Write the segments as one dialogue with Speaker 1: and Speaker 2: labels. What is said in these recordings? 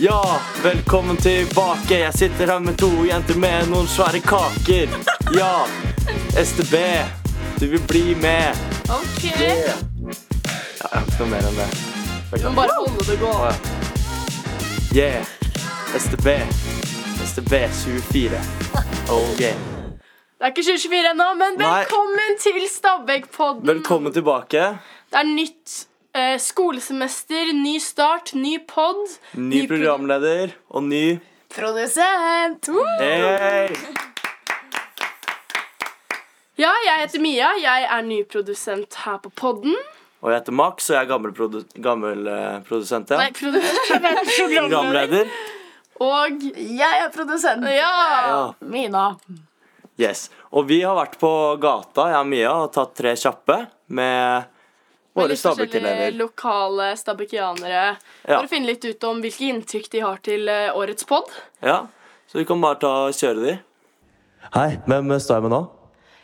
Speaker 1: Ja, velkommen tilbake. Jeg sitter her med to jenter med noen svære kaker. Ja, STB, du vil bli med.
Speaker 2: OK.
Speaker 1: Ja, jeg har ikke noe mer enn det.
Speaker 2: Du må bare holde det gående.
Speaker 1: Yeah. STB. STB24. Oh yeah.
Speaker 2: Det er ikke 2024 ennå, men
Speaker 1: Nei.
Speaker 2: velkommen til Stabæk-podden.
Speaker 1: Velkommen tilbake.
Speaker 2: Det er nytt eh, skolesemester, ny start, ny pod.
Speaker 1: Ny programleder og ny
Speaker 2: Produsent! Woo!
Speaker 1: Hey!
Speaker 2: Ja, jeg heter Mia. Jeg er ny produsent her på podden.
Speaker 1: Og jeg heter Max, og jeg er gammel, produ gammel eh, produsent.
Speaker 2: Nei,
Speaker 1: Ja.
Speaker 2: produ
Speaker 1: Programleder.
Speaker 2: Og
Speaker 3: Jeg er produsent.
Speaker 2: ja!
Speaker 1: Ja.
Speaker 3: Mina.
Speaker 1: Yes. Og vi har vært på gata, jeg og Mia, og tatt tre kjappe med
Speaker 2: Med
Speaker 1: våre
Speaker 2: litt forskjellige
Speaker 1: stabekelever.
Speaker 2: lokale stabækianere.
Speaker 1: Ja.
Speaker 2: For å finne litt ut om hvilke inntrykk de har til eh, årets pod.
Speaker 1: Ja. Så vi kan bare ta og kjøre de. Hei, hvem eh, står jeg med nå?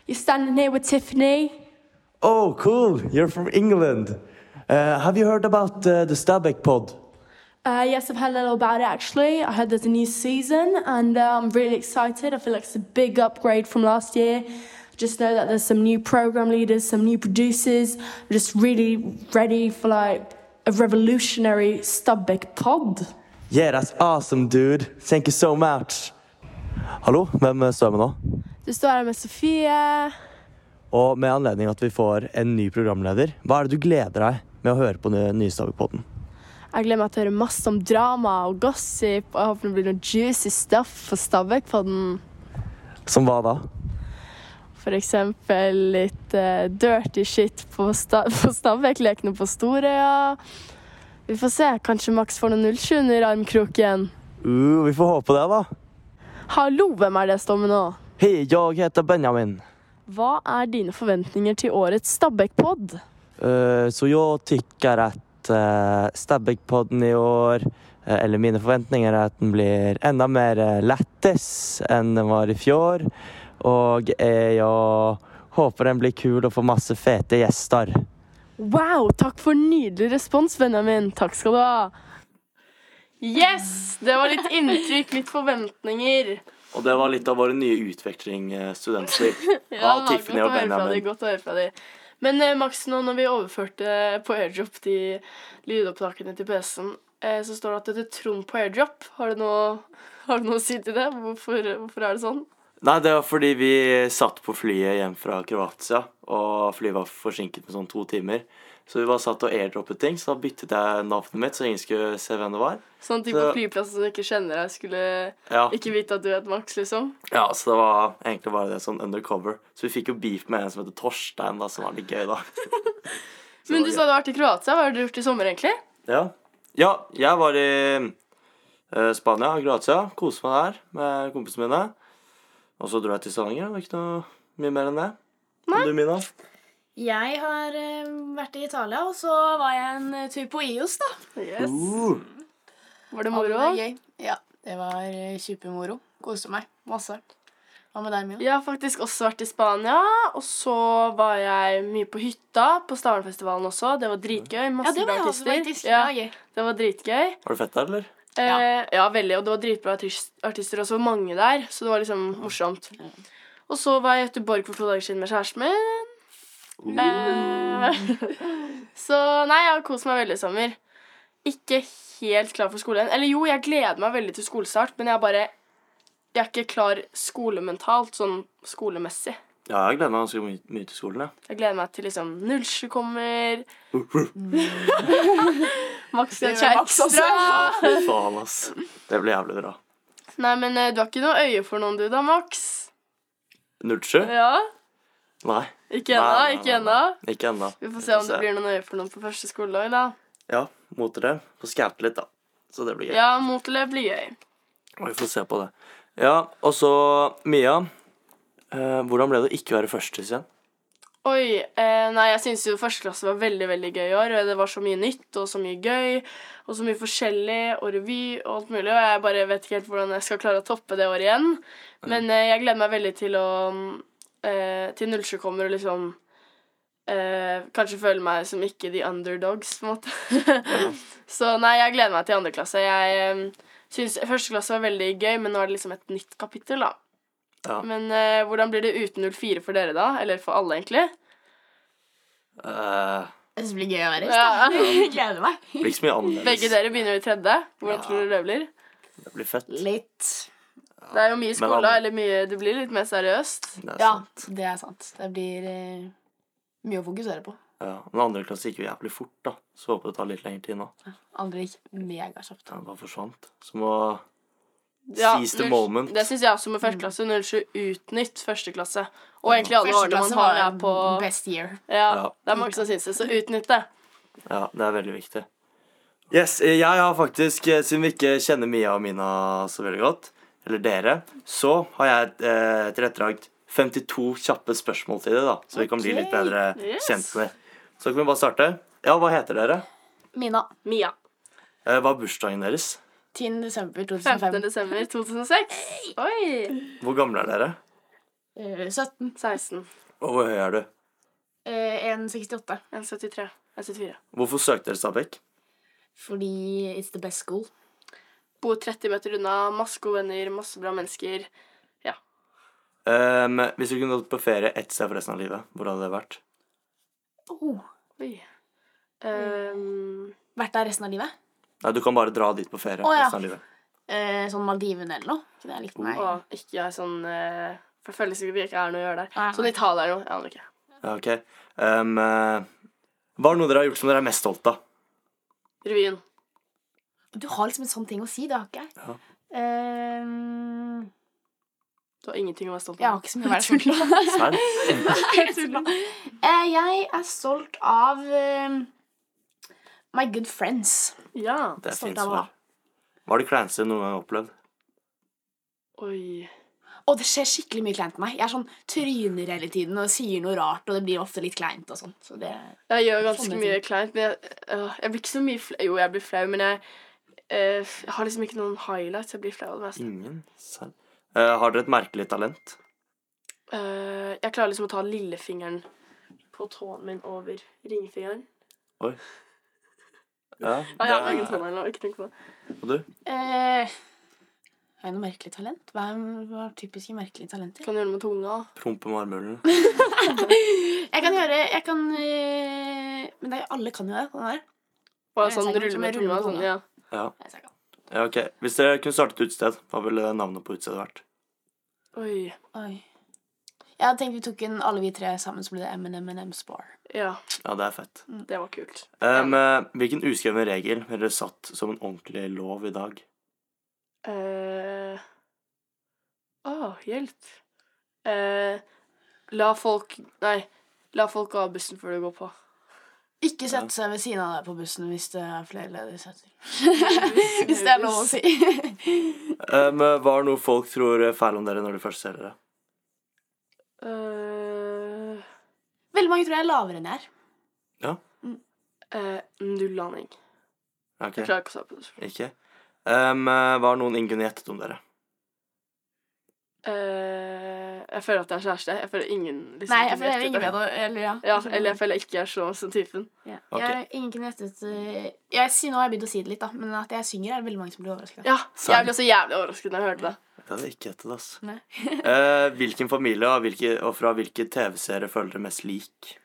Speaker 2: You're standing here with Tiffany.
Speaker 1: Oh, cool, you're from England. Uh, have you heard about uh, the Stabek pod?
Speaker 2: Uh, yes, I've heard a little about it actually. I heard there's a new season and uh, I'm really excited. I feel like it's a big upgrade from last year. Just know that there's some new program leaders, some new producers. I'm just really ready for like a revolutionary Stubbick pod.
Speaker 1: Yeah, that's awesome, dude. Thank you so much. Hallo, hvem eh, står jeg med nå?
Speaker 2: Du står her med Sofie.
Speaker 1: Og med anledning at vi får en ny programleder, hva er det du gleder deg med å høre på Nystavik-podden?
Speaker 2: Jeg gleder meg til å høre masse om drama og gossip. Og jeg håper det blir noe juicy stuff for Stabæk-podden.
Speaker 1: Som hva da?
Speaker 2: For eksempel litt eh, dirty shit på, sta på Stabæk-lekene på Storøya. Vi får se. Kanskje Max får noen 07-er i armkroken.
Speaker 1: Uh, vi får håpe det, da.
Speaker 2: Hallo, hvem er det jeg står med nå?
Speaker 1: Hei, jeg heter Benjamin.
Speaker 2: Hva er dine forventninger til årets Stabæk-pod?
Speaker 1: Eh, så jeg tykker at uh, Stabæk-podden i år, eh, eller mine forventninger, er at den blir enda mer eh, lættis enn den var i fjor. Og eh, jeg håper den blir kul og får masse fete gjester.
Speaker 2: Wow, takk for nydelig respons, Benjamin. Takk skal du ha. Yes! Det var litt inntrykk, litt forventninger.
Speaker 1: Og det var litt av våre nye utvekslingsstudenter. av eh, Tiffany
Speaker 2: godt å høre fra deg,
Speaker 1: og Benjamin.
Speaker 2: godt å høre fra deg. Men eh, Max, nå når vi overførte på airdrop de lydopptakene til PC-en, eh, så står det at det heter Trond på airdrop. Har du noe, har du noe å si til det? Hvorfor, hvorfor er det sånn?
Speaker 1: Nei, det var fordi vi satt på flyet hjem fra Kroatia, og flyet var forsinket med sånn to timer. Så vi var satt og airdroppet ting, så da byttet jeg navnet mitt, så ingen skulle se hvem det var.
Speaker 2: Sånn at de på
Speaker 1: Så-
Speaker 2: flyplassen som ikke kjenner deg, skulle
Speaker 1: Ja,
Speaker 2: ikke vite at du het Max, liksom.
Speaker 1: ja så det var egentlig bare det sånn undercover. Så vi fikk jo beef med en som heter Torstein, da, som var litt gøy, da. Så
Speaker 2: Men
Speaker 1: det
Speaker 2: du sa
Speaker 1: var
Speaker 2: du har vært i Kroatia. Hva har du gjort i sommer, egentlig?
Speaker 1: gøy. Ja. ja, jeg var i eh, Spania, Kroatia. Koste meg der med kompisene mine. Og så dro jeg til Stavanger. Det var ikke noe mye mer enn det. Og Du, Mina?
Speaker 3: Jeg har eh, vært i Italia, og så var jeg en eh, tur på IOS, da.
Speaker 2: Yes.
Speaker 1: Uh.
Speaker 3: Ja,
Speaker 2: Var det
Speaker 3: det
Speaker 2: moro?
Speaker 3: var gøy. Ja, det var eh, kjempemoro. Koste meg masse. Hva med deg, Mina?
Speaker 2: Jeg har faktisk også vært i Spania, og så var jeg mye på hytta på Stavernfestivalen også. Det var dritgøy. Masse bra artister.
Speaker 3: Det
Speaker 2: Ja,
Speaker 3: var gøy.
Speaker 2: det var dritgøy.
Speaker 1: Var det fett der, eller?
Speaker 2: Ja. Eh, ja, veldig. Og det var dritbra artis- artister, og så var mange der, så det var liksom morsomt. Og så var jeg i Göteborg for to dager siden med kjæresten min. Eh, så nei, jeg har kost meg veldig i sommer. Ikke helt klar for skolen. Eller jo, jeg gleder meg veldig til skolestart, men jeg er bare Jeg er ikke klar skolementalt, sånn skolemessig.
Speaker 1: Ja, jeg gleder meg ganske mye, mye til skolen. jeg.
Speaker 2: Jeg gleder meg til liksom 07 kommer. Max
Speaker 3: Det
Speaker 2: skal
Speaker 3: gjør
Speaker 2: kjære
Speaker 3: Max også.
Speaker 2: ekstra.
Speaker 1: Fy faen, ass. Det blir jævlig bra.
Speaker 2: Nei, men eh, du har ikke noe øye for noen, du da, Max?
Speaker 1: 07?
Speaker 2: Ja?
Speaker 1: Nei,
Speaker 2: Ikke ennå?
Speaker 1: Nei, nei,
Speaker 2: Ikke
Speaker 1: nei,
Speaker 2: ennå?
Speaker 1: ikke ennå.
Speaker 2: Vi får se om det blir noen øye for noen på første skoledag, da.
Speaker 1: Ja, mot dere. Få skaute litt, da. Så det blir gøy.
Speaker 2: Ja, mot eller blir gøy.
Speaker 1: Og Vi får se på det. Ja, og så Mia. Eh, hvordan ble det å ikke være førstis igjen?
Speaker 2: Oi. Eh, nei, jeg syns jo første klasse var veldig veldig gøy i år. og Det var så mye nytt og så mye gøy og så mye forskjellig og revy og alt mulig. Og jeg bare vet ikke helt hvordan jeg skal klare å toppe det året igjen. Men eh, jeg gleder meg veldig til å mm, eh, Til 07 kommer og liksom eh, kanskje føle meg som ikke the underdogs, på en måte. så nei, jeg gleder meg til andre klasse. Jeg eh, syns første klasse var veldig gøy, men nå er det liksom et nytt kapittel, da.
Speaker 1: Ja.
Speaker 2: Men eh, hvordan blir det uten 04 for dere, da? Eller for alle, egentlig?
Speaker 1: Eh,
Speaker 3: Jeg syns det blir gøy å være i.
Speaker 2: Ja.
Speaker 3: Jeg gleder meg.
Speaker 1: det blir ikke så mye annerledes.
Speaker 2: Begge dere begynner jo i tredje. Hvordan
Speaker 1: Ja.
Speaker 2: tror dere det blir?
Speaker 1: Det blir fett.
Speaker 3: Litt.
Speaker 2: Det er jo mye skole,
Speaker 1: alle-
Speaker 2: eller mye Det blir litt mer seriøst.
Speaker 1: Det er sånn.
Speaker 3: Ja,
Speaker 1: sant.
Speaker 3: det er sant. Det blir eh, mye å fokusere på.
Speaker 1: Ja. Men andre klasse gikk jo jævlig fort, da. Så håper jeg det tar litt lengre tid nå.
Speaker 3: Andre gikk megakjapt.
Speaker 1: Den bare forsvant. Som å Seize the
Speaker 2: null-
Speaker 1: moment.
Speaker 2: Det syns jeg også med førsteklasse. 07 utnytt førsteklasse. Og egentlig alle årene man
Speaker 3: Førsteklasse
Speaker 2: har
Speaker 3: var
Speaker 2: er på
Speaker 3: best year.
Speaker 2: ja,
Speaker 1: Ja.
Speaker 2: Det er mange som syns det, så utnytt det.
Speaker 1: Ja, det er veldig viktig. Yes, eh, jeg har faktisk, eh, siden vi ikke kjenner Mia og Mina så veldig godt, eller dere, så har jeg eh, tilrettelagt 52 kjappe spørsmål til dere, da. Så vi kan bli litt bedre
Speaker 2: Yes.
Speaker 1: kjent med dere. Så kan vi bare starte. Ja, hva heter dere?
Speaker 3: Mina.
Speaker 2: Mia.
Speaker 1: Eh, Hva er bursdagen deres?
Speaker 3: 10. desember
Speaker 2: 15.
Speaker 3: 2005.
Speaker 2: desember 2006. Oi!
Speaker 1: Hvor gamle er dere?
Speaker 3: Eh, 17.
Speaker 2: 16.
Speaker 1: Og hvor høy er du?
Speaker 3: Eh, 1,68.
Speaker 2: 1,73. 1,74.
Speaker 1: Hvorfor søkte dere Stabekk?
Speaker 3: Fordi it's the best school.
Speaker 2: Bo 30 meter unna, masse gode venner, masse bra mennesker.
Speaker 1: Um, hvis du kunne gått på ferie ett sted for resten av livet, hvor hadde det vært?
Speaker 3: Oh.
Speaker 2: Oi. Ehm,
Speaker 3: Vært der resten av livet?
Speaker 1: Nei, du kan bare dra dit på ferie
Speaker 3: Å, ja.
Speaker 1: resten av livet.
Speaker 3: Eh, sånn Maldivene eller noe. Ikke det jeg likte, nei.
Speaker 2: og ikke jeg sånn uh, Forfølges ikke ikke er noe å gjøre der.
Speaker 3: Nei.
Speaker 2: Sånn Italia eller noe. Jeg aner ikke.
Speaker 1: Ja, ok. Um, eh, hva er noe dere har gjort som dere er mest stolt av?
Speaker 2: Revyen.
Speaker 3: Du har liksom en sånn ting å si, det har ikke jeg.
Speaker 1: Ja.
Speaker 3: Eh,
Speaker 2: Du har ingenting å være stolt
Speaker 3: jeg har
Speaker 2: av.
Speaker 3: ikke så mye å være stolt av.
Speaker 1: Serr?
Speaker 3: Jeg tuller. Eh, jeg er stolt av eh, My Good Friends.
Speaker 2: Ja.
Speaker 1: Det er
Speaker 3: Stolt
Speaker 1: fint
Speaker 3: av
Speaker 1: svar.
Speaker 3: hva?
Speaker 1: Hva er det kleineste du noen gang har opplevd?
Speaker 2: Oi.
Speaker 3: Og det skjer skikkelig mye kleint med meg. Jeg er sånn tryner hele tiden og sier noe rart, og det blir ofte litt kleint og sånn. Så det
Speaker 2: Jeg gjør ganske
Speaker 3: Sånne
Speaker 2: mye kleint, men jeg, øh, jeg blir ikke så mye flau. Jo, jeg blir flau, men jeg, øh, jeg har liksom ikke noen highlights. Jeg blir flau av det meste.
Speaker 1: Ingen. Serr? Eh, har dere et merkelig talent?
Speaker 2: Øh, jeg klarer liksom å ta lillefingeren på tåen min over ringfingeren.
Speaker 1: Ja,
Speaker 2: Ja, jeg har
Speaker 1: det
Speaker 2: ingen
Speaker 1: er-
Speaker 2: tånegler nå, ikke tenk på det.
Speaker 1: Og du?
Speaker 3: eh, Har jeg noe merkelig talent? Hva er, hva er typiske merkelige talenter?
Speaker 2: Kan gjøre det med tunga.
Speaker 1: Prompe med armhulen.
Speaker 3: Jeg kan gjøre Jeg kan eh, Men det er, alle kan jo det. Den der.
Speaker 2: Og
Speaker 3: Jeg
Speaker 2: sånn
Speaker 3: ser ikke
Speaker 2: rulle
Speaker 3: som
Speaker 2: med
Speaker 3: jeg ruller
Speaker 2: tunga.
Speaker 3: med
Speaker 2: Sånn,
Speaker 3: tunga.
Speaker 2: ja.
Speaker 1: Ja.
Speaker 3: Nei, så jeg kan.
Speaker 1: ja, ok. Hvis dere kunne startet et utested, hva ville navnet på utestedet vært?
Speaker 2: Oi.
Speaker 3: Oi. Jeg hadde tenkt vi tok en alle vi tre sammen, så ble det M&M Spar.
Speaker 2: Ja,
Speaker 1: Ja, det er fett.
Speaker 2: det var kult.
Speaker 1: Um, eh, hvilken uskreven regel ville dere satt som en ordentlig lov i dag?
Speaker 2: Eh, Å, hjelp. Eh, la folk Nei, la folk gå av bussen før du går på.
Speaker 3: Ikke sette
Speaker 1: sette
Speaker 3: seg ved siden av deg på bussen hvis det er flere ledige setter.
Speaker 2: Hvis
Speaker 3: Hvis det er lov å si.
Speaker 1: Um, eh, hva er noe folk tror er feil om dere når de først ser dere?
Speaker 2: Eh,
Speaker 3: Veldig mange tror jeg er lavere enn jeg er.
Speaker 2: eh, null aning.
Speaker 1: Ja,
Speaker 2: Jeg
Speaker 1: Ok,
Speaker 2: klarer ikke å svare på det. spørsmålet.
Speaker 1: Ikke? Um, eh, hva er noe ingen kunne gjettet om dere?
Speaker 2: Eh, jeg føler at jeg er kjæreste. Jeg føler ingen liksom,
Speaker 3: Nei,
Speaker 2: kunne
Speaker 3: jeg føler heller
Speaker 2: gjettet
Speaker 3: ingen
Speaker 2: det.
Speaker 3: vet det. Eller, ja.
Speaker 2: Ja, eller jeg føler jeg ikke er sånn som typen.
Speaker 3: ja.
Speaker 1: Ok.
Speaker 3: jeg, Ingen kunne gjettet eh, jeg, sy- Nå har jeg begynt å si det litt, da, men at jeg synger, er det veldig mange som blir overraska.
Speaker 2: Ja,
Speaker 1: Sant.
Speaker 2: Jeg ble også jævlig overrasket da jeg hørte det.
Speaker 1: Det hadde jeg ikke gjettet, ass.
Speaker 3: Nei.
Speaker 1: Eh, hvilken familie og, hvilke, og fra hvilke TV-serier føler dere mest lik?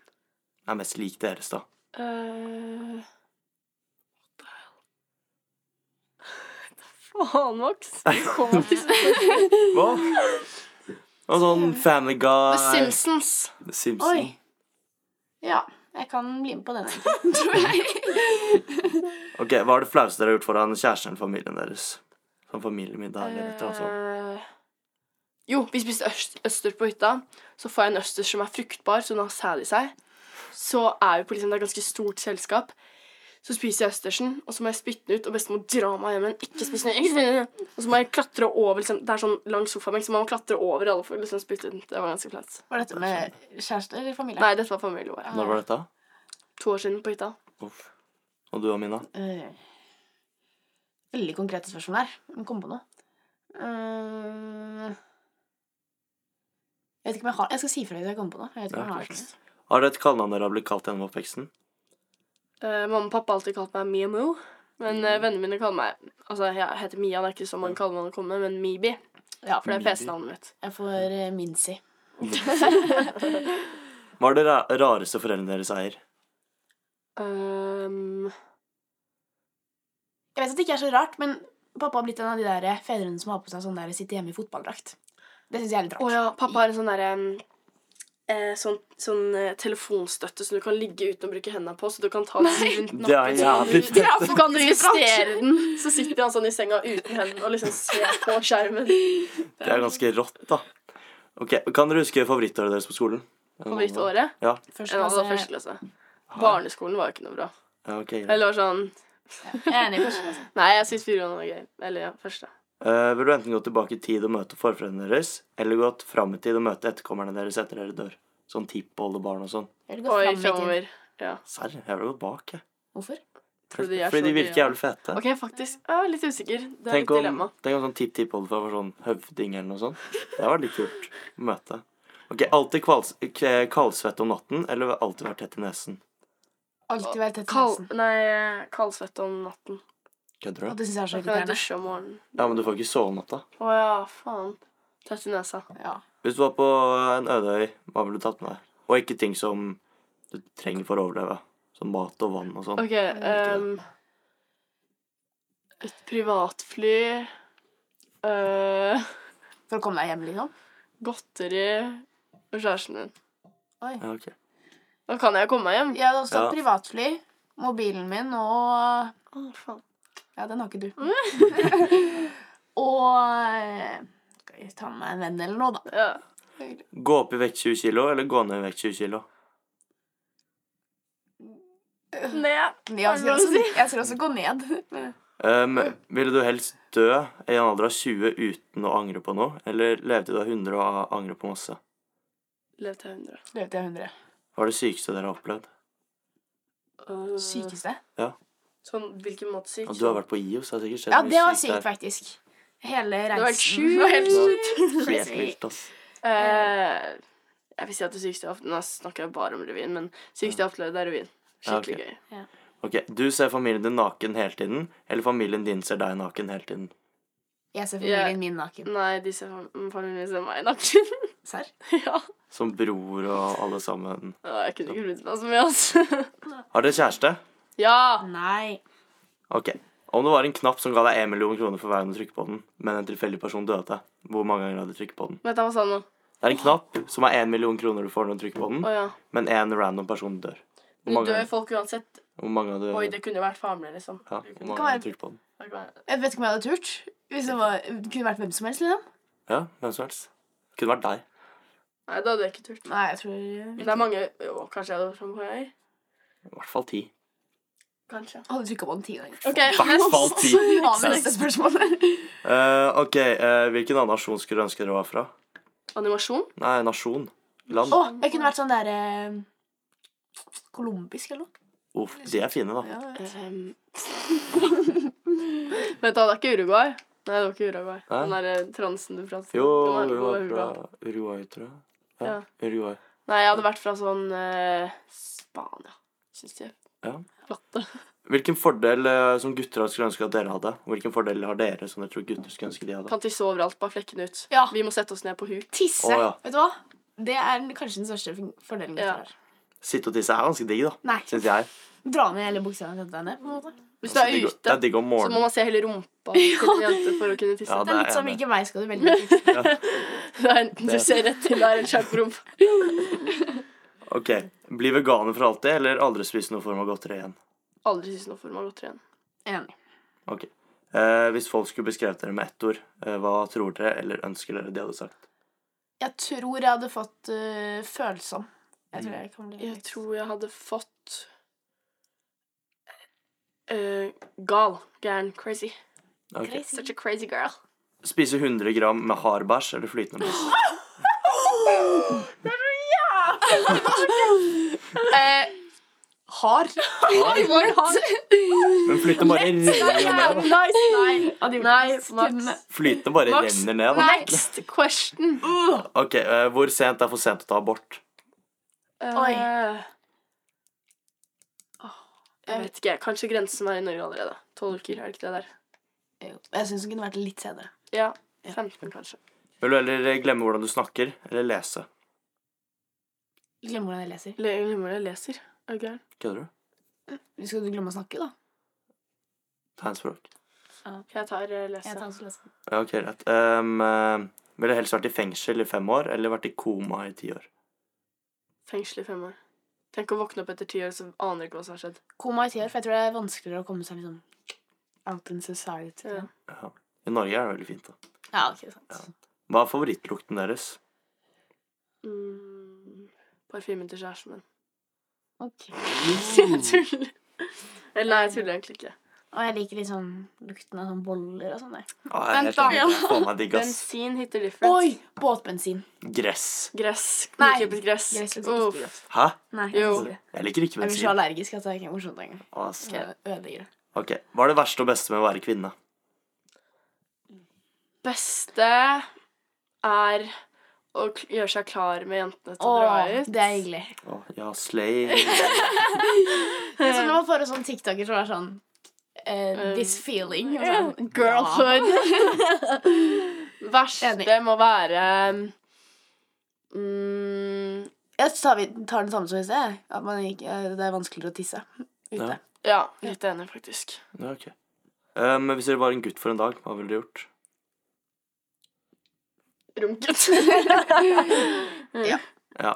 Speaker 1: Er mest lik deres, da.
Speaker 2: Eh, what the hell? Faen, Max. Du kom til
Speaker 1: Hva? Og sånn Family Guy
Speaker 2: The Simpsons.
Speaker 1: The Simpsons.
Speaker 3: Oi. Ja. Jeg kan bli med på den, egentlig, tror jeg.
Speaker 1: Ok, Hva er det flaueste dere har gjort foran kjæresten eller familien deres? Sånn familiemiddag eller et eller annet sånt.
Speaker 2: Eh, jo, vi spiste øst, østers på hytta. Så får jeg en østers som er fruktbar, så den har sæd i seg. Så er vi på liksom, det er et ganske stort selskap. Så spiser jeg østersen, og så må jeg spytte den ut, og bestemor drar meg hjem igjen. Ikke spis den, ikke spis den. Og så må jeg klatre over liksom, Det er sånn lang sofabenk, så man må klatre over alle for å liksom, spytte den. Det var ganske flaut.
Speaker 3: Var dette med kjæreste eller familie?
Speaker 2: Nei, dette var familien vår.
Speaker 3: Eh,
Speaker 1: Når var dette?
Speaker 2: To år siden på hytta.
Speaker 1: Uff. Og du og Mina?
Speaker 3: Eh, veldig konkrete spørsmål der. Må komme på noe. Eh, jeg vet ikke om jeg har Jeg skal si fra hvis jeg kommer på noe. Jeg vet ikke om
Speaker 1: Ja,
Speaker 3: jeg har
Speaker 1: klart.
Speaker 3: det.
Speaker 1: Har dere et kallenavn dere har blitt kalt gjennom oppveksten?
Speaker 2: Eh, mamma og pappa har alltid kalt meg Mia Mo. Men eh, vennene mine kaller meg Altså, jeg heter Mia, det er ikke så mange kallenavn å komme med, men Mibi.
Speaker 3: Ja,
Speaker 2: For det er
Speaker 1: Mibi.
Speaker 2: festnavnet mitt.
Speaker 3: jeg får eh, Minsi.
Speaker 1: Hva er det ra- rareste foreldrene deres eier?
Speaker 2: Ehm,
Speaker 3: Jeg vet at det ikke er så rart, men pappa har blitt en av de der fedrene som har på seg sånn der sitte hjemme i fotballdrakt. Det syns jeg er litt
Speaker 2: Å
Speaker 3: rart.
Speaker 2: ja, pappa har en sånn derre eh, Sånn, sånn eh, telefonstøtte som du kan ligge uten å bruke hendene på, så du kan ta den rundt
Speaker 1: Det er jævlig
Speaker 2: nakken.
Speaker 1: fett.
Speaker 2: Så kan du justere den. Så sitter han sånn i senga uten hendene og liksom ser på skjermen.
Speaker 1: Det er ganske rått, da. Ok, Kan dere huske favorittåret deres på skolen?
Speaker 2: Favorittåret?
Speaker 1: Ja.
Speaker 3: Først,
Speaker 2: Ja, det
Speaker 3: klasse-
Speaker 2: var første klasse. Barneskolen var jo ikke noe bra.
Speaker 1: ja ok, greit.
Speaker 2: Eller var sånn
Speaker 3: Jeg er enig i første klasse.
Speaker 2: Nei, jeg syns videregående var gøy. Eller ja, første.
Speaker 1: Eh, vil du enten gå tilbake i tid og møte forfedrene deres, eller gått fram i tid og møte etterkommerne deres etter dere dør? Sånn tippoldebarn og sånn.
Speaker 3: Jeg vil gå
Speaker 2: Oi,
Speaker 3: fram i tid.
Speaker 2: framover.
Speaker 1: Serr, jeg ville gått bak, jeg.
Speaker 3: Hvorfor?
Speaker 2: Fordi de er
Speaker 1: Fordi
Speaker 2: så
Speaker 1: de virker
Speaker 2: dyre.
Speaker 1: jævlig fete.
Speaker 2: OK, faktisk. Jeg er litt usikker. Det er
Speaker 1: Tenk
Speaker 2: et
Speaker 1: om,
Speaker 2: dilemma.
Speaker 1: tenk om sånn tipp-tipp-oldefar var sånn høvding eller noe sånt. Det hadde vært litt kult å møte. Ok, Alltid kvals- k- kaldsvett om natten, eller alltid vært tett i nesen?
Speaker 3: Alltid være tett i
Speaker 2: Kald,
Speaker 3: nesen.
Speaker 2: nei, kaldsvette om natten.
Speaker 1: Kødder
Speaker 3: Og
Speaker 1: du?
Speaker 3: det syns jeg er så
Speaker 2: Da kan jeg
Speaker 3: irriterende.
Speaker 2: dusje om morgenen.
Speaker 1: Ja, men du får ikke sove om natta.
Speaker 2: Å ja, faen. Tett i nesa.
Speaker 3: Ja.
Speaker 1: Hvis du var på en øde øy, hva ville du tatt med deg? Og ikke ting som du trenger for å overleve. Som mat og vann og sånn.
Speaker 2: OK ehm, Et privatfly eh,
Speaker 3: For å komme deg hjem, liksom.
Speaker 2: Godteri og kjæresten din.
Speaker 1: Ja, ok.
Speaker 2: Da kan jeg komme meg hjem.
Speaker 3: Jeg hadde også
Speaker 1: Ja.
Speaker 3: hatt privatfly, mobilen min og
Speaker 2: Å, faen.
Speaker 3: Ja, den har ikke du. og eh, Skal jeg ta med meg en venn eller noe, da?
Speaker 2: Ja.
Speaker 1: Gå opp i vekt 20 kilo, eller gå ned i vekt 20 kilo?
Speaker 2: Ned.
Speaker 3: Men Jeg
Speaker 2: det
Speaker 3: skal
Speaker 2: lov å
Speaker 3: også, jeg skal også gå ned.
Speaker 1: Um, ville du helst dø i en alder av 20 uten å angre på noe, eller leve til du er 100 og angre på masse?
Speaker 2: Lev til 100.
Speaker 3: Løp til 100.
Speaker 1: Hva er det sykeste dere har opplevd?
Speaker 2: Eh,
Speaker 3: Sykeste?
Speaker 2: Sånn, hvilken måte syk?
Speaker 1: Ja, du har vært på IOS, har sikkert skjedd
Speaker 3: Ja,
Speaker 1: mye
Speaker 3: det var
Speaker 1: sykt der.
Speaker 3: sykt, faktisk. Hele
Speaker 2: Det var helt
Speaker 3: reisen.
Speaker 2: sjukt.
Speaker 1: Helt vilt, ass.
Speaker 2: Eh, jeg vil si at det sykeste jeg har opplevd Nå snakker jeg bare om revyen, men sykeste jeg har opplevd, er revyen.
Speaker 1: Ja,
Speaker 2: Skikkelig
Speaker 1: ok.
Speaker 2: gøy.
Speaker 1: Ok, Du ser familien din naken hele tiden, eller familien din ser deg naken hele tiden?
Speaker 3: Jeg ser
Speaker 2: Ja.
Speaker 3: familien min naken.
Speaker 2: Nei, de ser fam- familien min ser meg naken.
Speaker 3: Serr?
Speaker 2: ja.
Speaker 1: Som bror og alle sammen.
Speaker 2: Å, Jeg kunne ikke brydd meg så mye, altså.
Speaker 1: Har dere kjæreste?
Speaker 2: ja!
Speaker 3: Nei.
Speaker 1: Ok. Om det var en knapp som ga deg 1 million kroner for hver gang du trykker på den, men en tilfeldig person døde, hvor mange ganger hadde du trykket på den?
Speaker 2: Vent, hva sa du sånn nå?
Speaker 1: Det er en knapp som er 1 million kroner du får når du trykker på den,
Speaker 2: Å ja.
Speaker 1: men en random person dør. Hvor
Speaker 2: Nå
Speaker 1: mange
Speaker 2: dør
Speaker 1: ganger,
Speaker 2: folk uansett.
Speaker 1: hvor mange ganger
Speaker 2: Oi,
Speaker 1: du,
Speaker 2: det kunne vært faren min, liksom.
Speaker 1: ja, hvor
Speaker 3: kan
Speaker 1: mange ganger
Speaker 3: være-
Speaker 1: du trykker på den?
Speaker 2: Det kan være-
Speaker 3: Jeg vet ikke om jeg hadde turt. Hvis det, var, det kunne vært hvem som helst, liksom.
Speaker 1: Ja, hvem som helst. Det kunne vært deg.
Speaker 2: Nei, da hadde jeg ikke turt.
Speaker 3: Nei, jeg tror
Speaker 2: Det er mange Å, kanskje jeg hadde vært sånn sammen med deg?
Speaker 1: I hvert fall ti.
Speaker 2: Kanskje.
Speaker 3: Jeg hadde trykka på den ti ganger.
Speaker 2: OK,
Speaker 1: I hvert fall ti.
Speaker 3: Vi har med neste spørsmål.
Speaker 1: Eh, ok, eh, hvilken annen nasjon skulle du ønske dere var fra?
Speaker 2: animasjon.
Speaker 1: Nei, nasjon. Land.
Speaker 3: Å, jeg kunne vært sånn der eh, Colombisk eller noe.
Speaker 1: Uff, de er fine, da.
Speaker 3: Ja, jeg vet.
Speaker 2: Ehm. Vent, da, det er ikke Uruguay. Nei, det var ikke Uruguay.
Speaker 1: Nei.
Speaker 2: Den derre transen du pratet
Speaker 1: Jo,
Speaker 2: Det var-
Speaker 1: hun
Speaker 2: det
Speaker 1: var
Speaker 2: var
Speaker 1: fra
Speaker 2: Uruguay.
Speaker 1: Uruguay, tror jeg. Ja,
Speaker 2: Ja.
Speaker 1: Uruguay.
Speaker 2: Nei, jeg hadde vært fra sånn eh, Spania, syns jeg.
Speaker 1: Ja.
Speaker 2: Flotte.
Speaker 1: Hvilken fordel eh, som gutter skulle ønske at dere hadde? Og hvilken fordel har dere som dere tror gutter skulle ønske de hadde?
Speaker 2: Kan tisse overalt, bare flekkene ut.
Speaker 3: Ja.
Speaker 2: Vi må sette oss ned på huk.
Speaker 3: Tisse.
Speaker 1: Å, ja.
Speaker 3: Vet du hva? Det er kanskje den største fordelen gutter
Speaker 2: Ja.
Speaker 3: har.
Speaker 1: Sitte og tisse er ganske digg, da.
Speaker 3: Nei.
Speaker 1: Syns jeg.
Speaker 3: Dra ned hele buksa og sette deg ned. på en måte.
Speaker 2: Hvis du er
Speaker 1: Digg- Altså, Det
Speaker 2: ute,
Speaker 1: er digg om
Speaker 2: så må
Speaker 1: morgenen.
Speaker 2: man se hele rumpa til en jente for å kunne tisse.
Speaker 1: Ja,
Speaker 3: Det er litt som
Speaker 1: enig.
Speaker 3: hvilken vei skal du velge.
Speaker 2: Det er enten du
Speaker 1: Det-
Speaker 2: ser rett til deg eller kjøper rumpa.
Speaker 1: Ok, Bli veganer for alltid, eller aldri spise noen form av godteri igjen?
Speaker 2: Aldri synes noe for meg godt igjen.
Speaker 3: Enig.
Speaker 1: Ok. Eh, hvis folk skulle beskrevet dere med ett ord, eh, hva tror dere eller ønsker dere de hadde sagt?
Speaker 3: Jeg tror jeg hadde fått eh, følsom. Jeg tror jeg kan bli
Speaker 2: Jeg tror jeg hadde fått eh, Gal. Gæren. Crazy.
Speaker 1: Ok.
Speaker 2: Such a crazy girl.
Speaker 1: Spise 100 gram med hard bæsj eller flytende bæsj?
Speaker 3: Hard. Hard.
Speaker 1: Men flytende bare renner jo ned. da.
Speaker 2: Nice, nei. Nei, Max.
Speaker 3: Kunne-
Speaker 1: Flytende bare
Speaker 2: Max,
Speaker 1: renner ned. da.
Speaker 2: Next question.
Speaker 1: Ok, eh, Hvor sent er for sent å ta abort?
Speaker 2: Oi. jeg vet ikke. Kanskje grensen er i Norge allerede. Tolv uker, er det ikke det der?
Speaker 3: Jo, Jeg syns den kunne vært litt senere.
Speaker 2: Ja. 15, kanskje.
Speaker 1: Vil du heller glemme hvordan du snakker, eller lese?
Speaker 3: Glemme hvordan jeg leser.
Speaker 2: Le- Jeg glemmer det. Jeg leser. Er du gæren?
Speaker 1: Kødder du?
Speaker 3: Skal du glemme å snakke, da?
Speaker 1: Tegnspråk.
Speaker 2: Jeg tar eh, lese.
Speaker 3: Jeg tar også lese.
Speaker 1: Ja, ok, rett. Ehm, eh, Ville helst vært i fengsel i fem år, eller vært i koma i ti år?
Speaker 2: Fengsel i fem år. Tenk å våkne opp etter ti år, så aner jeg ikke hva som har skjedd.
Speaker 3: Koma i ti år, for jeg tror det er vanskeligere å komme seg liksom out in society.
Speaker 2: Ja.
Speaker 1: Ja. I Norge er det veldig fint, da.
Speaker 3: Ja, ok, sant.
Speaker 1: Hva er favorittlukten deres?
Speaker 2: Mm, Parfymen til kjæresten min.
Speaker 3: Ok.
Speaker 2: Jeg tuller. Eller nei, jeg tuller egentlig ikke.
Speaker 3: Og jeg liker liksom lukten av sånn boller og sånn der.
Speaker 1: Ah, jeg er
Speaker 2: Vent
Speaker 1: helt
Speaker 2: da.
Speaker 1: enig. Faen meg digg, ass.
Speaker 2: Bensin hitter different.
Speaker 3: Båtbensin.
Speaker 1: Gress.
Speaker 2: Gress.
Speaker 3: Nei.
Speaker 2: Nyklippet gress.
Speaker 3: Gress lukter ikke
Speaker 2: Uff.
Speaker 3: godt.
Speaker 1: Hæ?
Speaker 3: Nei,
Speaker 2: Jo.
Speaker 3: jeg, jeg
Speaker 1: Jeg liker ikke
Speaker 3: blir så
Speaker 1: bensin.
Speaker 3: allergisk at det er ikke morsomt engang.
Speaker 1: Ass.
Speaker 3: Jeg ødelegger det.
Speaker 1: Ok, Hva er det verste og beste med å være kvinne?
Speaker 2: Beste er å k- gjøre seg klar med jentene til å dra
Speaker 3: Åh,
Speaker 2: ut.
Speaker 3: det er hyggelig.
Speaker 1: Å, ja, slay.
Speaker 3: Det er sånn når man får en sånn TikToker som er sånn eh, This feeling. og Sånn,
Speaker 2: Girlhood. Verste
Speaker 3: Enig.
Speaker 2: må være mm,
Speaker 3: Jeg tar, vi tar den samme som i sted. At man ikke, eh, det er vanskeligere å tisse ute.
Speaker 1: Ja.
Speaker 2: Ja, litt enig, faktisk.
Speaker 1: Ja, ok. Ehm, hvis dere var en gutt for en dag, hva ville dere gjort?
Speaker 2: Runket.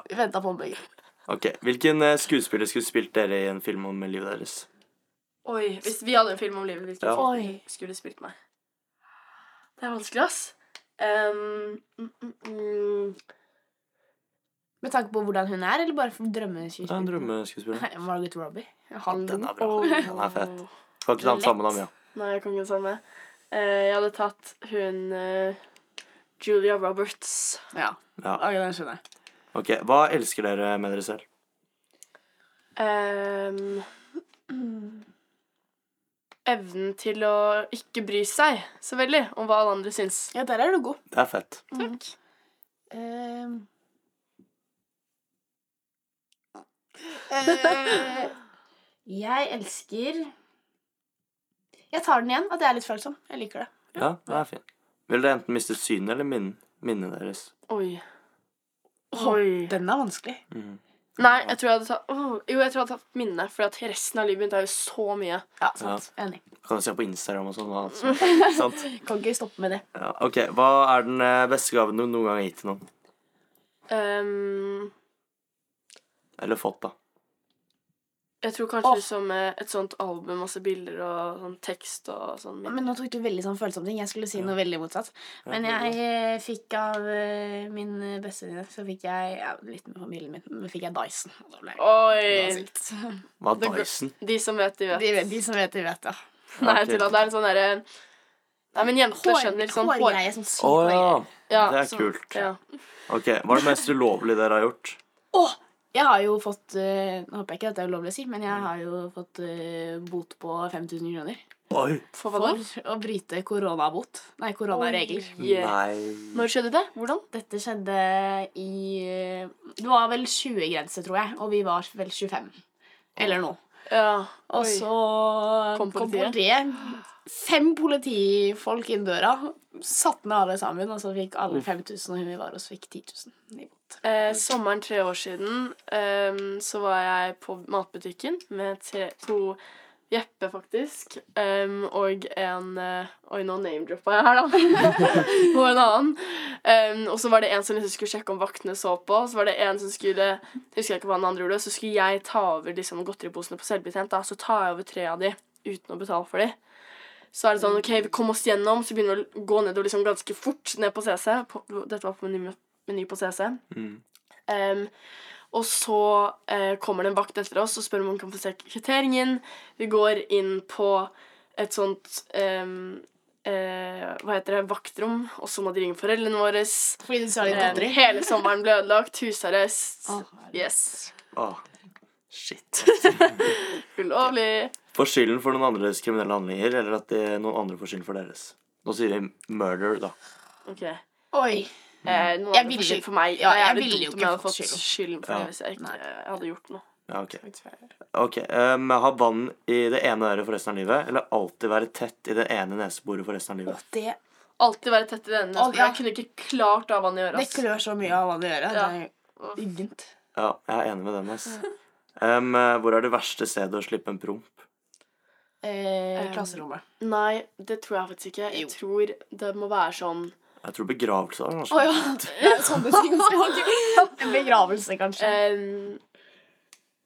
Speaker 3: Vi venta på ombygging.
Speaker 1: Ok, Hvilken eh, skuespiller skulle spilt dere i en film om livet deres?
Speaker 2: Oi, hvis vi hadde en film om livet, hvilken
Speaker 1: Ja.
Speaker 2: film
Speaker 3: Oi.
Speaker 2: skulle du spilt meg? Det er vanskelig, ass. Um, mm, mm, mm.
Speaker 3: Med tanke på hvordan hun er, eller bare
Speaker 1: Det er en
Speaker 3: drømmeskuespiller?
Speaker 1: drømmeskuespiller.
Speaker 3: Margaret Robbie. Han
Speaker 1: Den er bra. Den er fet. Kan ikke ta den
Speaker 3: Lett.
Speaker 1: samme navn, ja.
Speaker 2: Nei, jeg kan ikke det samme. Eh, jeg hadde tatt hun eh, Julia Roberts.
Speaker 3: Ja.
Speaker 1: Ja.
Speaker 3: Ok, den skjønner jeg.
Speaker 1: Ok, Hva elsker dere med dere selv?
Speaker 2: Ehm, evnen til å ikke bry seg så veldig om hva alle andre syns.
Speaker 3: Ja, der er du god.
Speaker 1: Det er fett.
Speaker 2: Takk.
Speaker 3: Ehm. Eh. jeg elsker Jeg tar den igjen, at jeg er litt følsom. Jeg liker det.
Speaker 1: Ja, det er fint. Vil dere enten miste synet eller min- minnet deres?
Speaker 2: Oi. Oi.
Speaker 3: Den er vanskelig.
Speaker 1: Mhm.
Speaker 2: Nei, jeg tror jeg hadde tatt åh, Jo, jeg tror jeg hadde tatt minne, for at resten av livet mitt er jo så mye.
Speaker 3: Ja, sant. Enig.
Speaker 1: Kan du se på Instagram og sånn? da, altså. Sant?
Speaker 3: Kan ikke stoppe med det.
Speaker 1: Ja, ok, Hva er den eh, beste gaven du noen gang har gitt til noen?
Speaker 2: Ehm,
Speaker 1: Eller fått, da.
Speaker 2: jeg tror kanskje liksom eh, et sånt album, masse bilder og sånn tekst og sånn.
Speaker 3: Men nå tok du veldig sånn følsomme ting. Jeg skulle si noe veldig motsatt. Men jeg eh, fikk av eh, min eh, bestevenninne så fikk jeg ja, litt med familien min, men fikk jeg Dyson. Og da ble jeg
Speaker 2: Oi!
Speaker 3: sykt.
Speaker 1: Hva
Speaker 2: Det
Speaker 1: er
Speaker 2: går-
Speaker 1: Dyson?
Speaker 2: De som vet, de vet.
Speaker 3: De, vet- de som vet, de vet, ja.
Speaker 2: Nei,
Speaker 1: Ok.
Speaker 2: jeg tuller. Det er en sånn derre Nei, men jenter skjønner sånn hår...
Speaker 3: Hårgreie. Sånn sykt
Speaker 1: Å ja.
Speaker 3: hårgreie.
Speaker 2: Ja,
Speaker 1: Det er
Speaker 2: så-
Speaker 1: kult.
Speaker 2: Ja.
Speaker 1: Ok, Hva er det mest ulovlige dere har gjort?
Speaker 3: Åh, jeg har jo fått eh, Nå håper jeg ikke at det er ulovlig å si, men jeg har jo fått eh, bot på 5000 kroner
Speaker 1: Oi!
Speaker 2: For hva da?
Speaker 3: for å bryte koronabot. Nei, koronaregler.
Speaker 2: Yeah.
Speaker 1: Nei
Speaker 2: Når skjedde det? Hvordan?
Speaker 3: Dette skjedde i eh, Det var vel 20-grense, tror jeg, og vi var vel 25. Eller noe.
Speaker 2: Ja.
Speaker 3: Og
Speaker 2: Oi.
Speaker 3: så
Speaker 2: Kom
Speaker 3: Kom politiet. Fem politifolk inn døra. Satt ned alle sammen, og så fikk alle 5000, og hun vi var hos, fikk 10 000 i bot.
Speaker 2: Eh, sommeren tre år siden ehm, så var jeg på matbutikken med tre, to Jeppe, faktisk, ehm, og en eh, Oi, nå name-droppa jeg her, da. og en annen. Ehm, og så var det en som liksom skulle sjekke om vaktene så på. og Så var det en som skulle husker jeg ikke hva den andre gjorde, så skulle jeg ta over liksom, godteriposene på selvbetjent. da, Så tar jeg over tre av de uten å betale for de. Så er det sånn, ok, vi kom oss gjennom, så begynner vi å gå nedover liksom ganske fort ned på CC. På, dette var på meny, meny på CC. Em, og så eh, kommer det en vakt etter oss og spør om hun kan få se kvitteringen. Vi går inn på et sånt em, eh, Hva heter det? Vaktrom. Og så må de ringe foreldrene våre.
Speaker 3: Fordi du sa litt
Speaker 2: Em,
Speaker 3: godteri.
Speaker 2: hele sommeren ble ødelagt. Husarrest.
Speaker 3: Å, herregud.
Speaker 2: yes.
Speaker 1: Åh, Shit.
Speaker 2: Ulovlig.
Speaker 1: Får skylden for noen andres kriminelle handlinger, eller at det, noen andre får skylden for deres? Nå sier vi murder, da.
Speaker 2: Ok.
Speaker 3: Oi.
Speaker 2: Eh, noen
Speaker 3: Mm. Jeg
Speaker 2: hadde
Speaker 3: ville-
Speaker 2: fått skyld for meg.
Speaker 3: ja,
Speaker 2: Det er
Speaker 3: jeg
Speaker 2: jævlig
Speaker 3: ville jo
Speaker 2: dumt om
Speaker 3: ikke
Speaker 2: jeg hadde
Speaker 3: fått
Speaker 2: fått skylden for
Speaker 1: Ja.
Speaker 2: det hvis jeg ikke eh, hadde gjort noe.
Speaker 1: Ja, ok. Ok, um, Ha vann i det ene øret for resten av livet, eller alltid være tett i det ene neseboret for resten av livet.
Speaker 3: Det,
Speaker 2: Alltid være tett i denne.
Speaker 3: Alt, ja.
Speaker 2: Jeg kunne ikke klart å ha vann i øret. altså.
Speaker 3: det klør
Speaker 2: ass.
Speaker 3: så mye av hva du gjør.
Speaker 2: Ja.
Speaker 3: Det er uggent.
Speaker 1: Ja, jeg er enig med den. ass. Um, eh, hvor er det verste stedet å slippe en promp?
Speaker 3: Eh,
Speaker 2: Um,
Speaker 3: klasserommet.
Speaker 2: Nei, det tror jeg faktisk ikke. Jeg
Speaker 3: Jo.
Speaker 2: tror det må være sånn
Speaker 1: Jeg tror begravelse. er kanskje.
Speaker 3: Å ja! Det er sånn sånne ting også. ja, ok. En begravelse, kanskje.
Speaker 2: Ehm,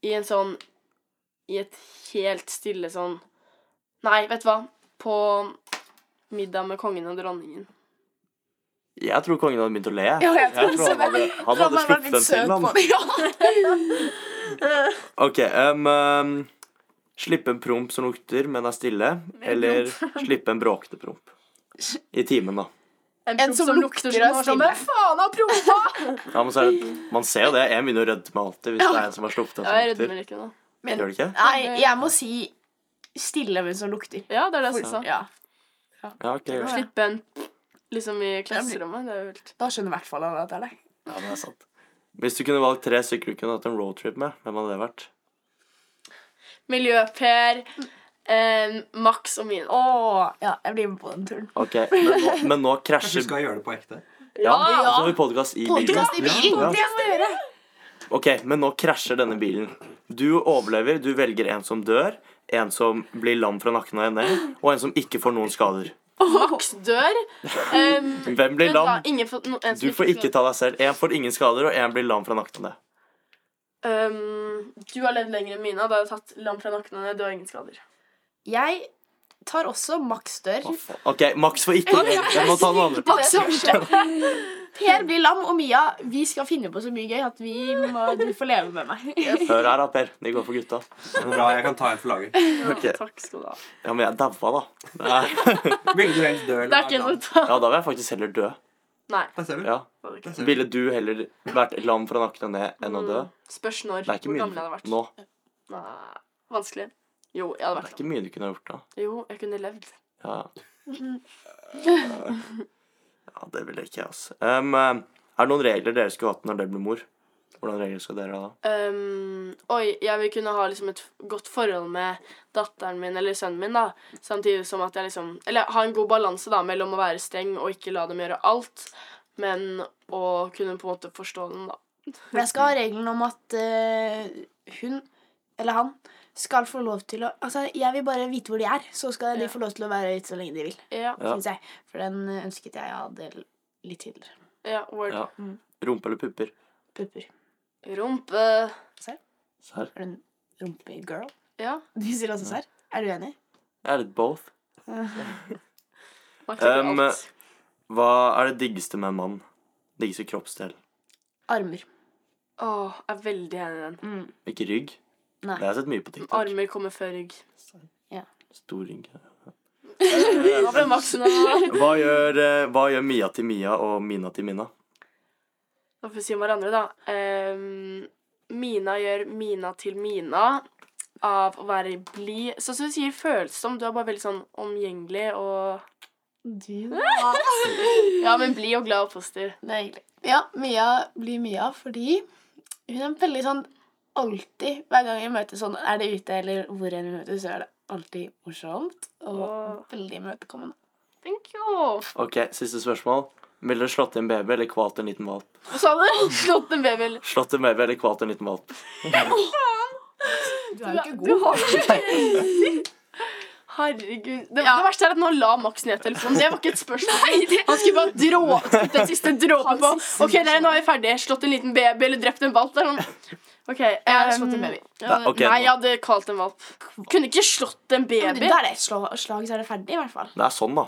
Speaker 2: I en sånn I et helt stille sånn Nei, vet du hva? På middag med kongen og dronningen.
Speaker 1: Jeg tror kongen hadde begynt å le.
Speaker 3: Ja, jeg tror
Speaker 1: han hadde, han hadde sluppet den til. Han. Ok, um, um, Slippe en promp som lukter, men er stille, eller slippe en bråkete promp. I timen, da.
Speaker 3: En som lukter
Speaker 2: som
Speaker 3: av
Speaker 2: har
Speaker 3: stille.
Speaker 2: stille.
Speaker 3: Faen, han prompa!
Speaker 1: Ja, men så er det, man ser jo det. Jeg begynner å rødme alltid hvis det er en som har sluppet en
Speaker 2: Ja, jeg
Speaker 1: som lukter.
Speaker 2: rødmer ikke nå.
Speaker 1: Gjør det ikke?
Speaker 3: Nei, jeg må si stille, men som lukter.
Speaker 2: Ja, det er det jeg sa.
Speaker 3: Ja.
Speaker 1: Ja, ok. Ja,
Speaker 2: Slippe en liksom i klasserommet. Det er jo helt
Speaker 3: Da skjønner i hvert fall han at det er deg.
Speaker 1: det er sant. Hvis du kunne valgt tre stykker du kunne hatt en roadtrip med, hvem hadde det vært?
Speaker 2: Miljøper, ehm, Max og min. Å,
Speaker 3: Åh, ja, jeg blir med på den turen.
Speaker 1: Ok, Men nå, men nå krasjer
Speaker 4: Kanskje vi skal gjøre det på ekte?
Speaker 1: Ja, og så har vi podkast i bilen.
Speaker 3: Podcast i bilen!
Speaker 1: Ja.
Speaker 3: Det må jeg gjøre!
Speaker 1: Ok, men nå krasjer denne bilen. Du overlever. Du velger en som dør, en som blir lam fra nakken og ned, og en som ikke får noen skader.
Speaker 2: Max dør. Ehm,
Speaker 1: Hvem blir
Speaker 2: vent da,
Speaker 1: lam?
Speaker 2: ingen får, no, en som
Speaker 1: Du får ikke ta deg selv. En får ingen skader, og en blir lam fra nakken og ned.
Speaker 2: Ehm, Du har levd lenger enn Mina. Da har jeg tatt lam fra nakken og ned. Du har ingen skader.
Speaker 3: Jeg tar også Max dør.
Speaker 1: Å, faen. Ok, Max får ikke det. Jeg må ta den andre.
Speaker 3: Max og Per blir lam, og Mia, vi skal finne på så mye gøy at vi må, du får leve med meg.
Speaker 1: Hør her, da, Per. De går for gutta.
Speaker 4: Bra, jeg kan ta en for laget.
Speaker 1: Ok.
Speaker 2: Takk skal du ha.
Speaker 1: Ja, men jeg daua, da. Nei.
Speaker 4: Ville du helst dø eller
Speaker 2: Det er ikke sånn
Speaker 4: være
Speaker 2: noe
Speaker 4: glad?
Speaker 2: ta.
Speaker 1: Ja, da vil jeg faktisk heller dø.
Speaker 2: Nei.
Speaker 4: Der ser du.
Speaker 1: Ja.
Speaker 2: var det ikke.
Speaker 4: Der ser du.
Speaker 1: Ville du heller vært lam fra nakken og ned enn å dø?
Speaker 2: Spørs når.
Speaker 1: Det er
Speaker 2: Mm.
Speaker 1: ikke
Speaker 2: Hvor
Speaker 1: mye
Speaker 2: gammel jeg hadde vært.
Speaker 1: nå.
Speaker 2: Nei, vanskelig. Jo, jeg hadde
Speaker 1: Det er
Speaker 2: vært
Speaker 1: ikke mye du kunne ha gjort da.
Speaker 2: Jo, jeg kunne levd.
Speaker 1: Ja, ja det ville ikke jeg, altså. Um, er det noen regler dere skulle hatt når dere blir mor? Hvordan regler skal dere ha da?
Speaker 2: Ehm, oi, jeg vil kunne ha liksom et godt forhold med datteren min eller sønnen min, da. Samtidig som at jeg liksom Eller ha en god balanse da mellom å være streng og ikke la dem gjøre alt, men å kunne på en måte forstå dem, da.
Speaker 3: Jeg skal ha regelen om at eh, hun, eller han, skal få lov til å Altså, jeg vil bare vite hvor de er, så skal
Speaker 2: Ja.
Speaker 3: de få lov til å være ute så lenge de vil.
Speaker 2: Ja.
Speaker 1: Ja.
Speaker 3: Synes jeg. For den eh, ønsket jeg hadde l- litt tidligere.
Speaker 2: ja word.
Speaker 1: Ja. Rumpe eller pupper?
Speaker 3: Pupper.
Speaker 2: Rumpe.
Speaker 1: Serr?
Speaker 3: Er du en rumpegirl?
Speaker 2: Ja.
Speaker 3: De sier også serr. Er du enig?
Speaker 1: Jeg er litt both.
Speaker 2: Man kan
Speaker 1: Ehm,
Speaker 2: ikke alt.
Speaker 1: Hva er det diggeste med en mann? Diggeste kroppsdel?
Speaker 3: Armer.
Speaker 2: Åh, jeg er veldig enig i den.
Speaker 3: Mm.
Speaker 1: Ikke rygg?
Speaker 3: Nei.
Speaker 1: Det har jeg sett mye på TikTok.
Speaker 2: Armer kommer før rygg.
Speaker 1: Stor rygg.
Speaker 2: Hva ble Max nå?
Speaker 1: Hva gjør, eh, hva gjør Mia til Mia og Mina til Mina?
Speaker 2: Hva får vi si om hverandre, da? Ehm, Mina gjør Mina til Mina av å være blid. Sånn som du sier, følsom. Du er bare veldig sånn omgjengelig og
Speaker 3: Du
Speaker 2: Ja, men blid og glad og positiv.
Speaker 3: Det er hyggelig. Ja, Mia blir Mia fordi hun er veldig sånn alltid Hver gang vi møtes sånn, er det ute eller hvor enn vi møtes, så er det alltid morsomt og
Speaker 2: Åh.
Speaker 3: veldig imøtekommende.
Speaker 2: Thank you.
Speaker 1: Ok, siste spørsmål. Ville dere slått i en baby eller kvalt en liten valp?
Speaker 2: Hva sa du? Slått en baby. eller?
Speaker 1: Slått en baby eller kvalt en liten valp?
Speaker 3: Du er jo ikke god.
Speaker 2: Herregud. Det, det verste er at nå la Max ned telefonen. Det var ikke et spørsmål. Han skulle bare drå, spytte den siste dråpen på. OK, dere, nå er vi ferdige. Slått en liten baby eller drept en valp. Det er sånn OK. Jeg
Speaker 3: hadde slått en baby.
Speaker 1: Nei,
Speaker 2: Nei,
Speaker 1: ok, nå-
Speaker 2: jeg hadde kalt en valp. Kunne ikke slått
Speaker 3: Ja, men
Speaker 2: en baby.
Speaker 3: Da er det et slag, slag, så er det ferdig, i hvert fall.
Speaker 1: Det er sånn, da.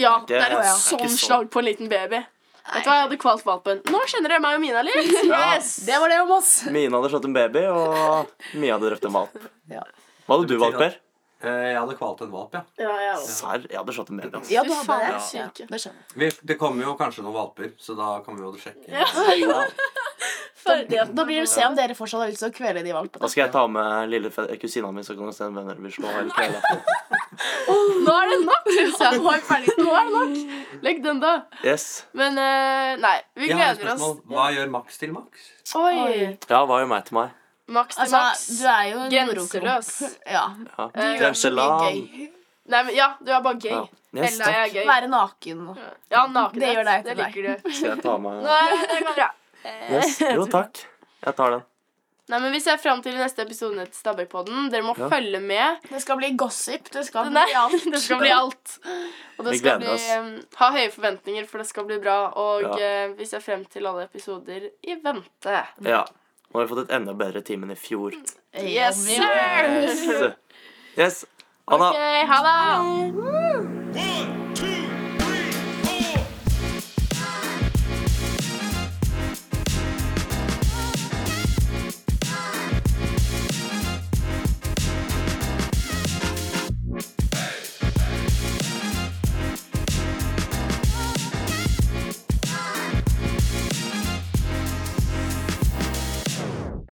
Speaker 2: Ja,
Speaker 1: Det
Speaker 2: det
Speaker 1: er
Speaker 2: er
Speaker 1: ikke
Speaker 2: et sånn
Speaker 1: sånn.
Speaker 2: slag på en liten baby. Vet du hva, Jeg hadde kvalt valpen. Nå kjenner dere meg og Mina litt. Yes!
Speaker 3: Det var det om oss.
Speaker 1: Mina hadde slått en baby, og Mia hadde drept en valp.
Speaker 3: Ja.
Speaker 1: Hva hadde du
Speaker 4: Det betyr
Speaker 1: valgt,
Speaker 4: at-
Speaker 1: Per?
Speaker 4: Eh, Jeg hadde kvalt en valp, ja.
Speaker 2: Ja, jeg også.
Speaker 1: Serr, jeg hadde slått en baby. ass.
Speaker 3: Ja,
Speaker 2: Fy faen, det er syke.
Speaker 3: det skjønner jeg.
Speaker 4: Vi, det kommer jo kanskje noen valper, så da kan vi jo sjekke.
Speaker 3: Da, da blir det å se om dere fortsatt har lyst til å kvele de
Speaker 1: Da
Speaker 3: valpene.
Speaker 1: skal jeg ta med lille fe- kusina mi, så kan du se hvem dere vil slå. Hele kvelden.
Speaker 2: Nå er det nok, syns jeg. Nå er, vi ferdig. Nå er det nok. Legg den, da.
Speaker 1: Yes.
Speaker 2: Men eh, nei, vi
Speaker 4: Jeg har et
Speaker 2: gleder oss.
Speaker 4: spørsmål. Hva gjør Max til Max?
Speaker 2: Oi!
Speaker 1: Ja, hva gjør meg til meg?
Speaker 2: Max til
Speaker 3: Altså,
Speaker 2: Max.
Speaker 3: du er jo en
Speaker 2: Grenseløs.
Speaker 3: Ja.
Speaker 1: Ja.
Speaker 2: Eh,
Speaker 1: Grenseland.
Speaker 2: Nei, men ja, du er bare gøy.
Speaker 1: Ja. Yes,
Speaker 2: Ella
Speaker 1: takk.
Speaker 2: er gøy.
Speaker 3: Være naken.
Speaker 2: Ja, nakenhet.
Speaker 3: Det gjør deg
Speaker 2: Det
Speaker 3: til deg.
Speaker 2: liker du.
Speaker 1: Skal jeg ta av meg
Speaker 2: Nei, det går bra.
Speaker 1: yes. Jo, takk. Jeg tar den.
Speaker 2: Nei, men Vi ser fram til neste episode til Stabækpodden. Dere må
Speaker 1: Ja.
Speaker 2: følge med.
Speaker 3: Det skal bli gossip. Det skal
Speaker 2: Nei,
Speaker 3: bli alt.
Speaker 2: det skal bli alt. Og det
Speaker 1: Vi
Speaker 2: skal
Speaker 1: gleder
Speaker 2: bli,
Speaker 1: oss.
Speaker 2: um, ha høye forventninger, for det skal bli bra. Og
Speaker 1: Ja.
Speaker 2: eh, vi ser frem til alle episoder i vente.
Speaker 1: Ja. Nå har vi fått et enda bedre team enn i fjor.
Speaker 2: Yes, sir!
Speaker 1: Mm. Yes. yes. Anna.
Speaker 2: Ok, ha det!
Speaker 5: One, two,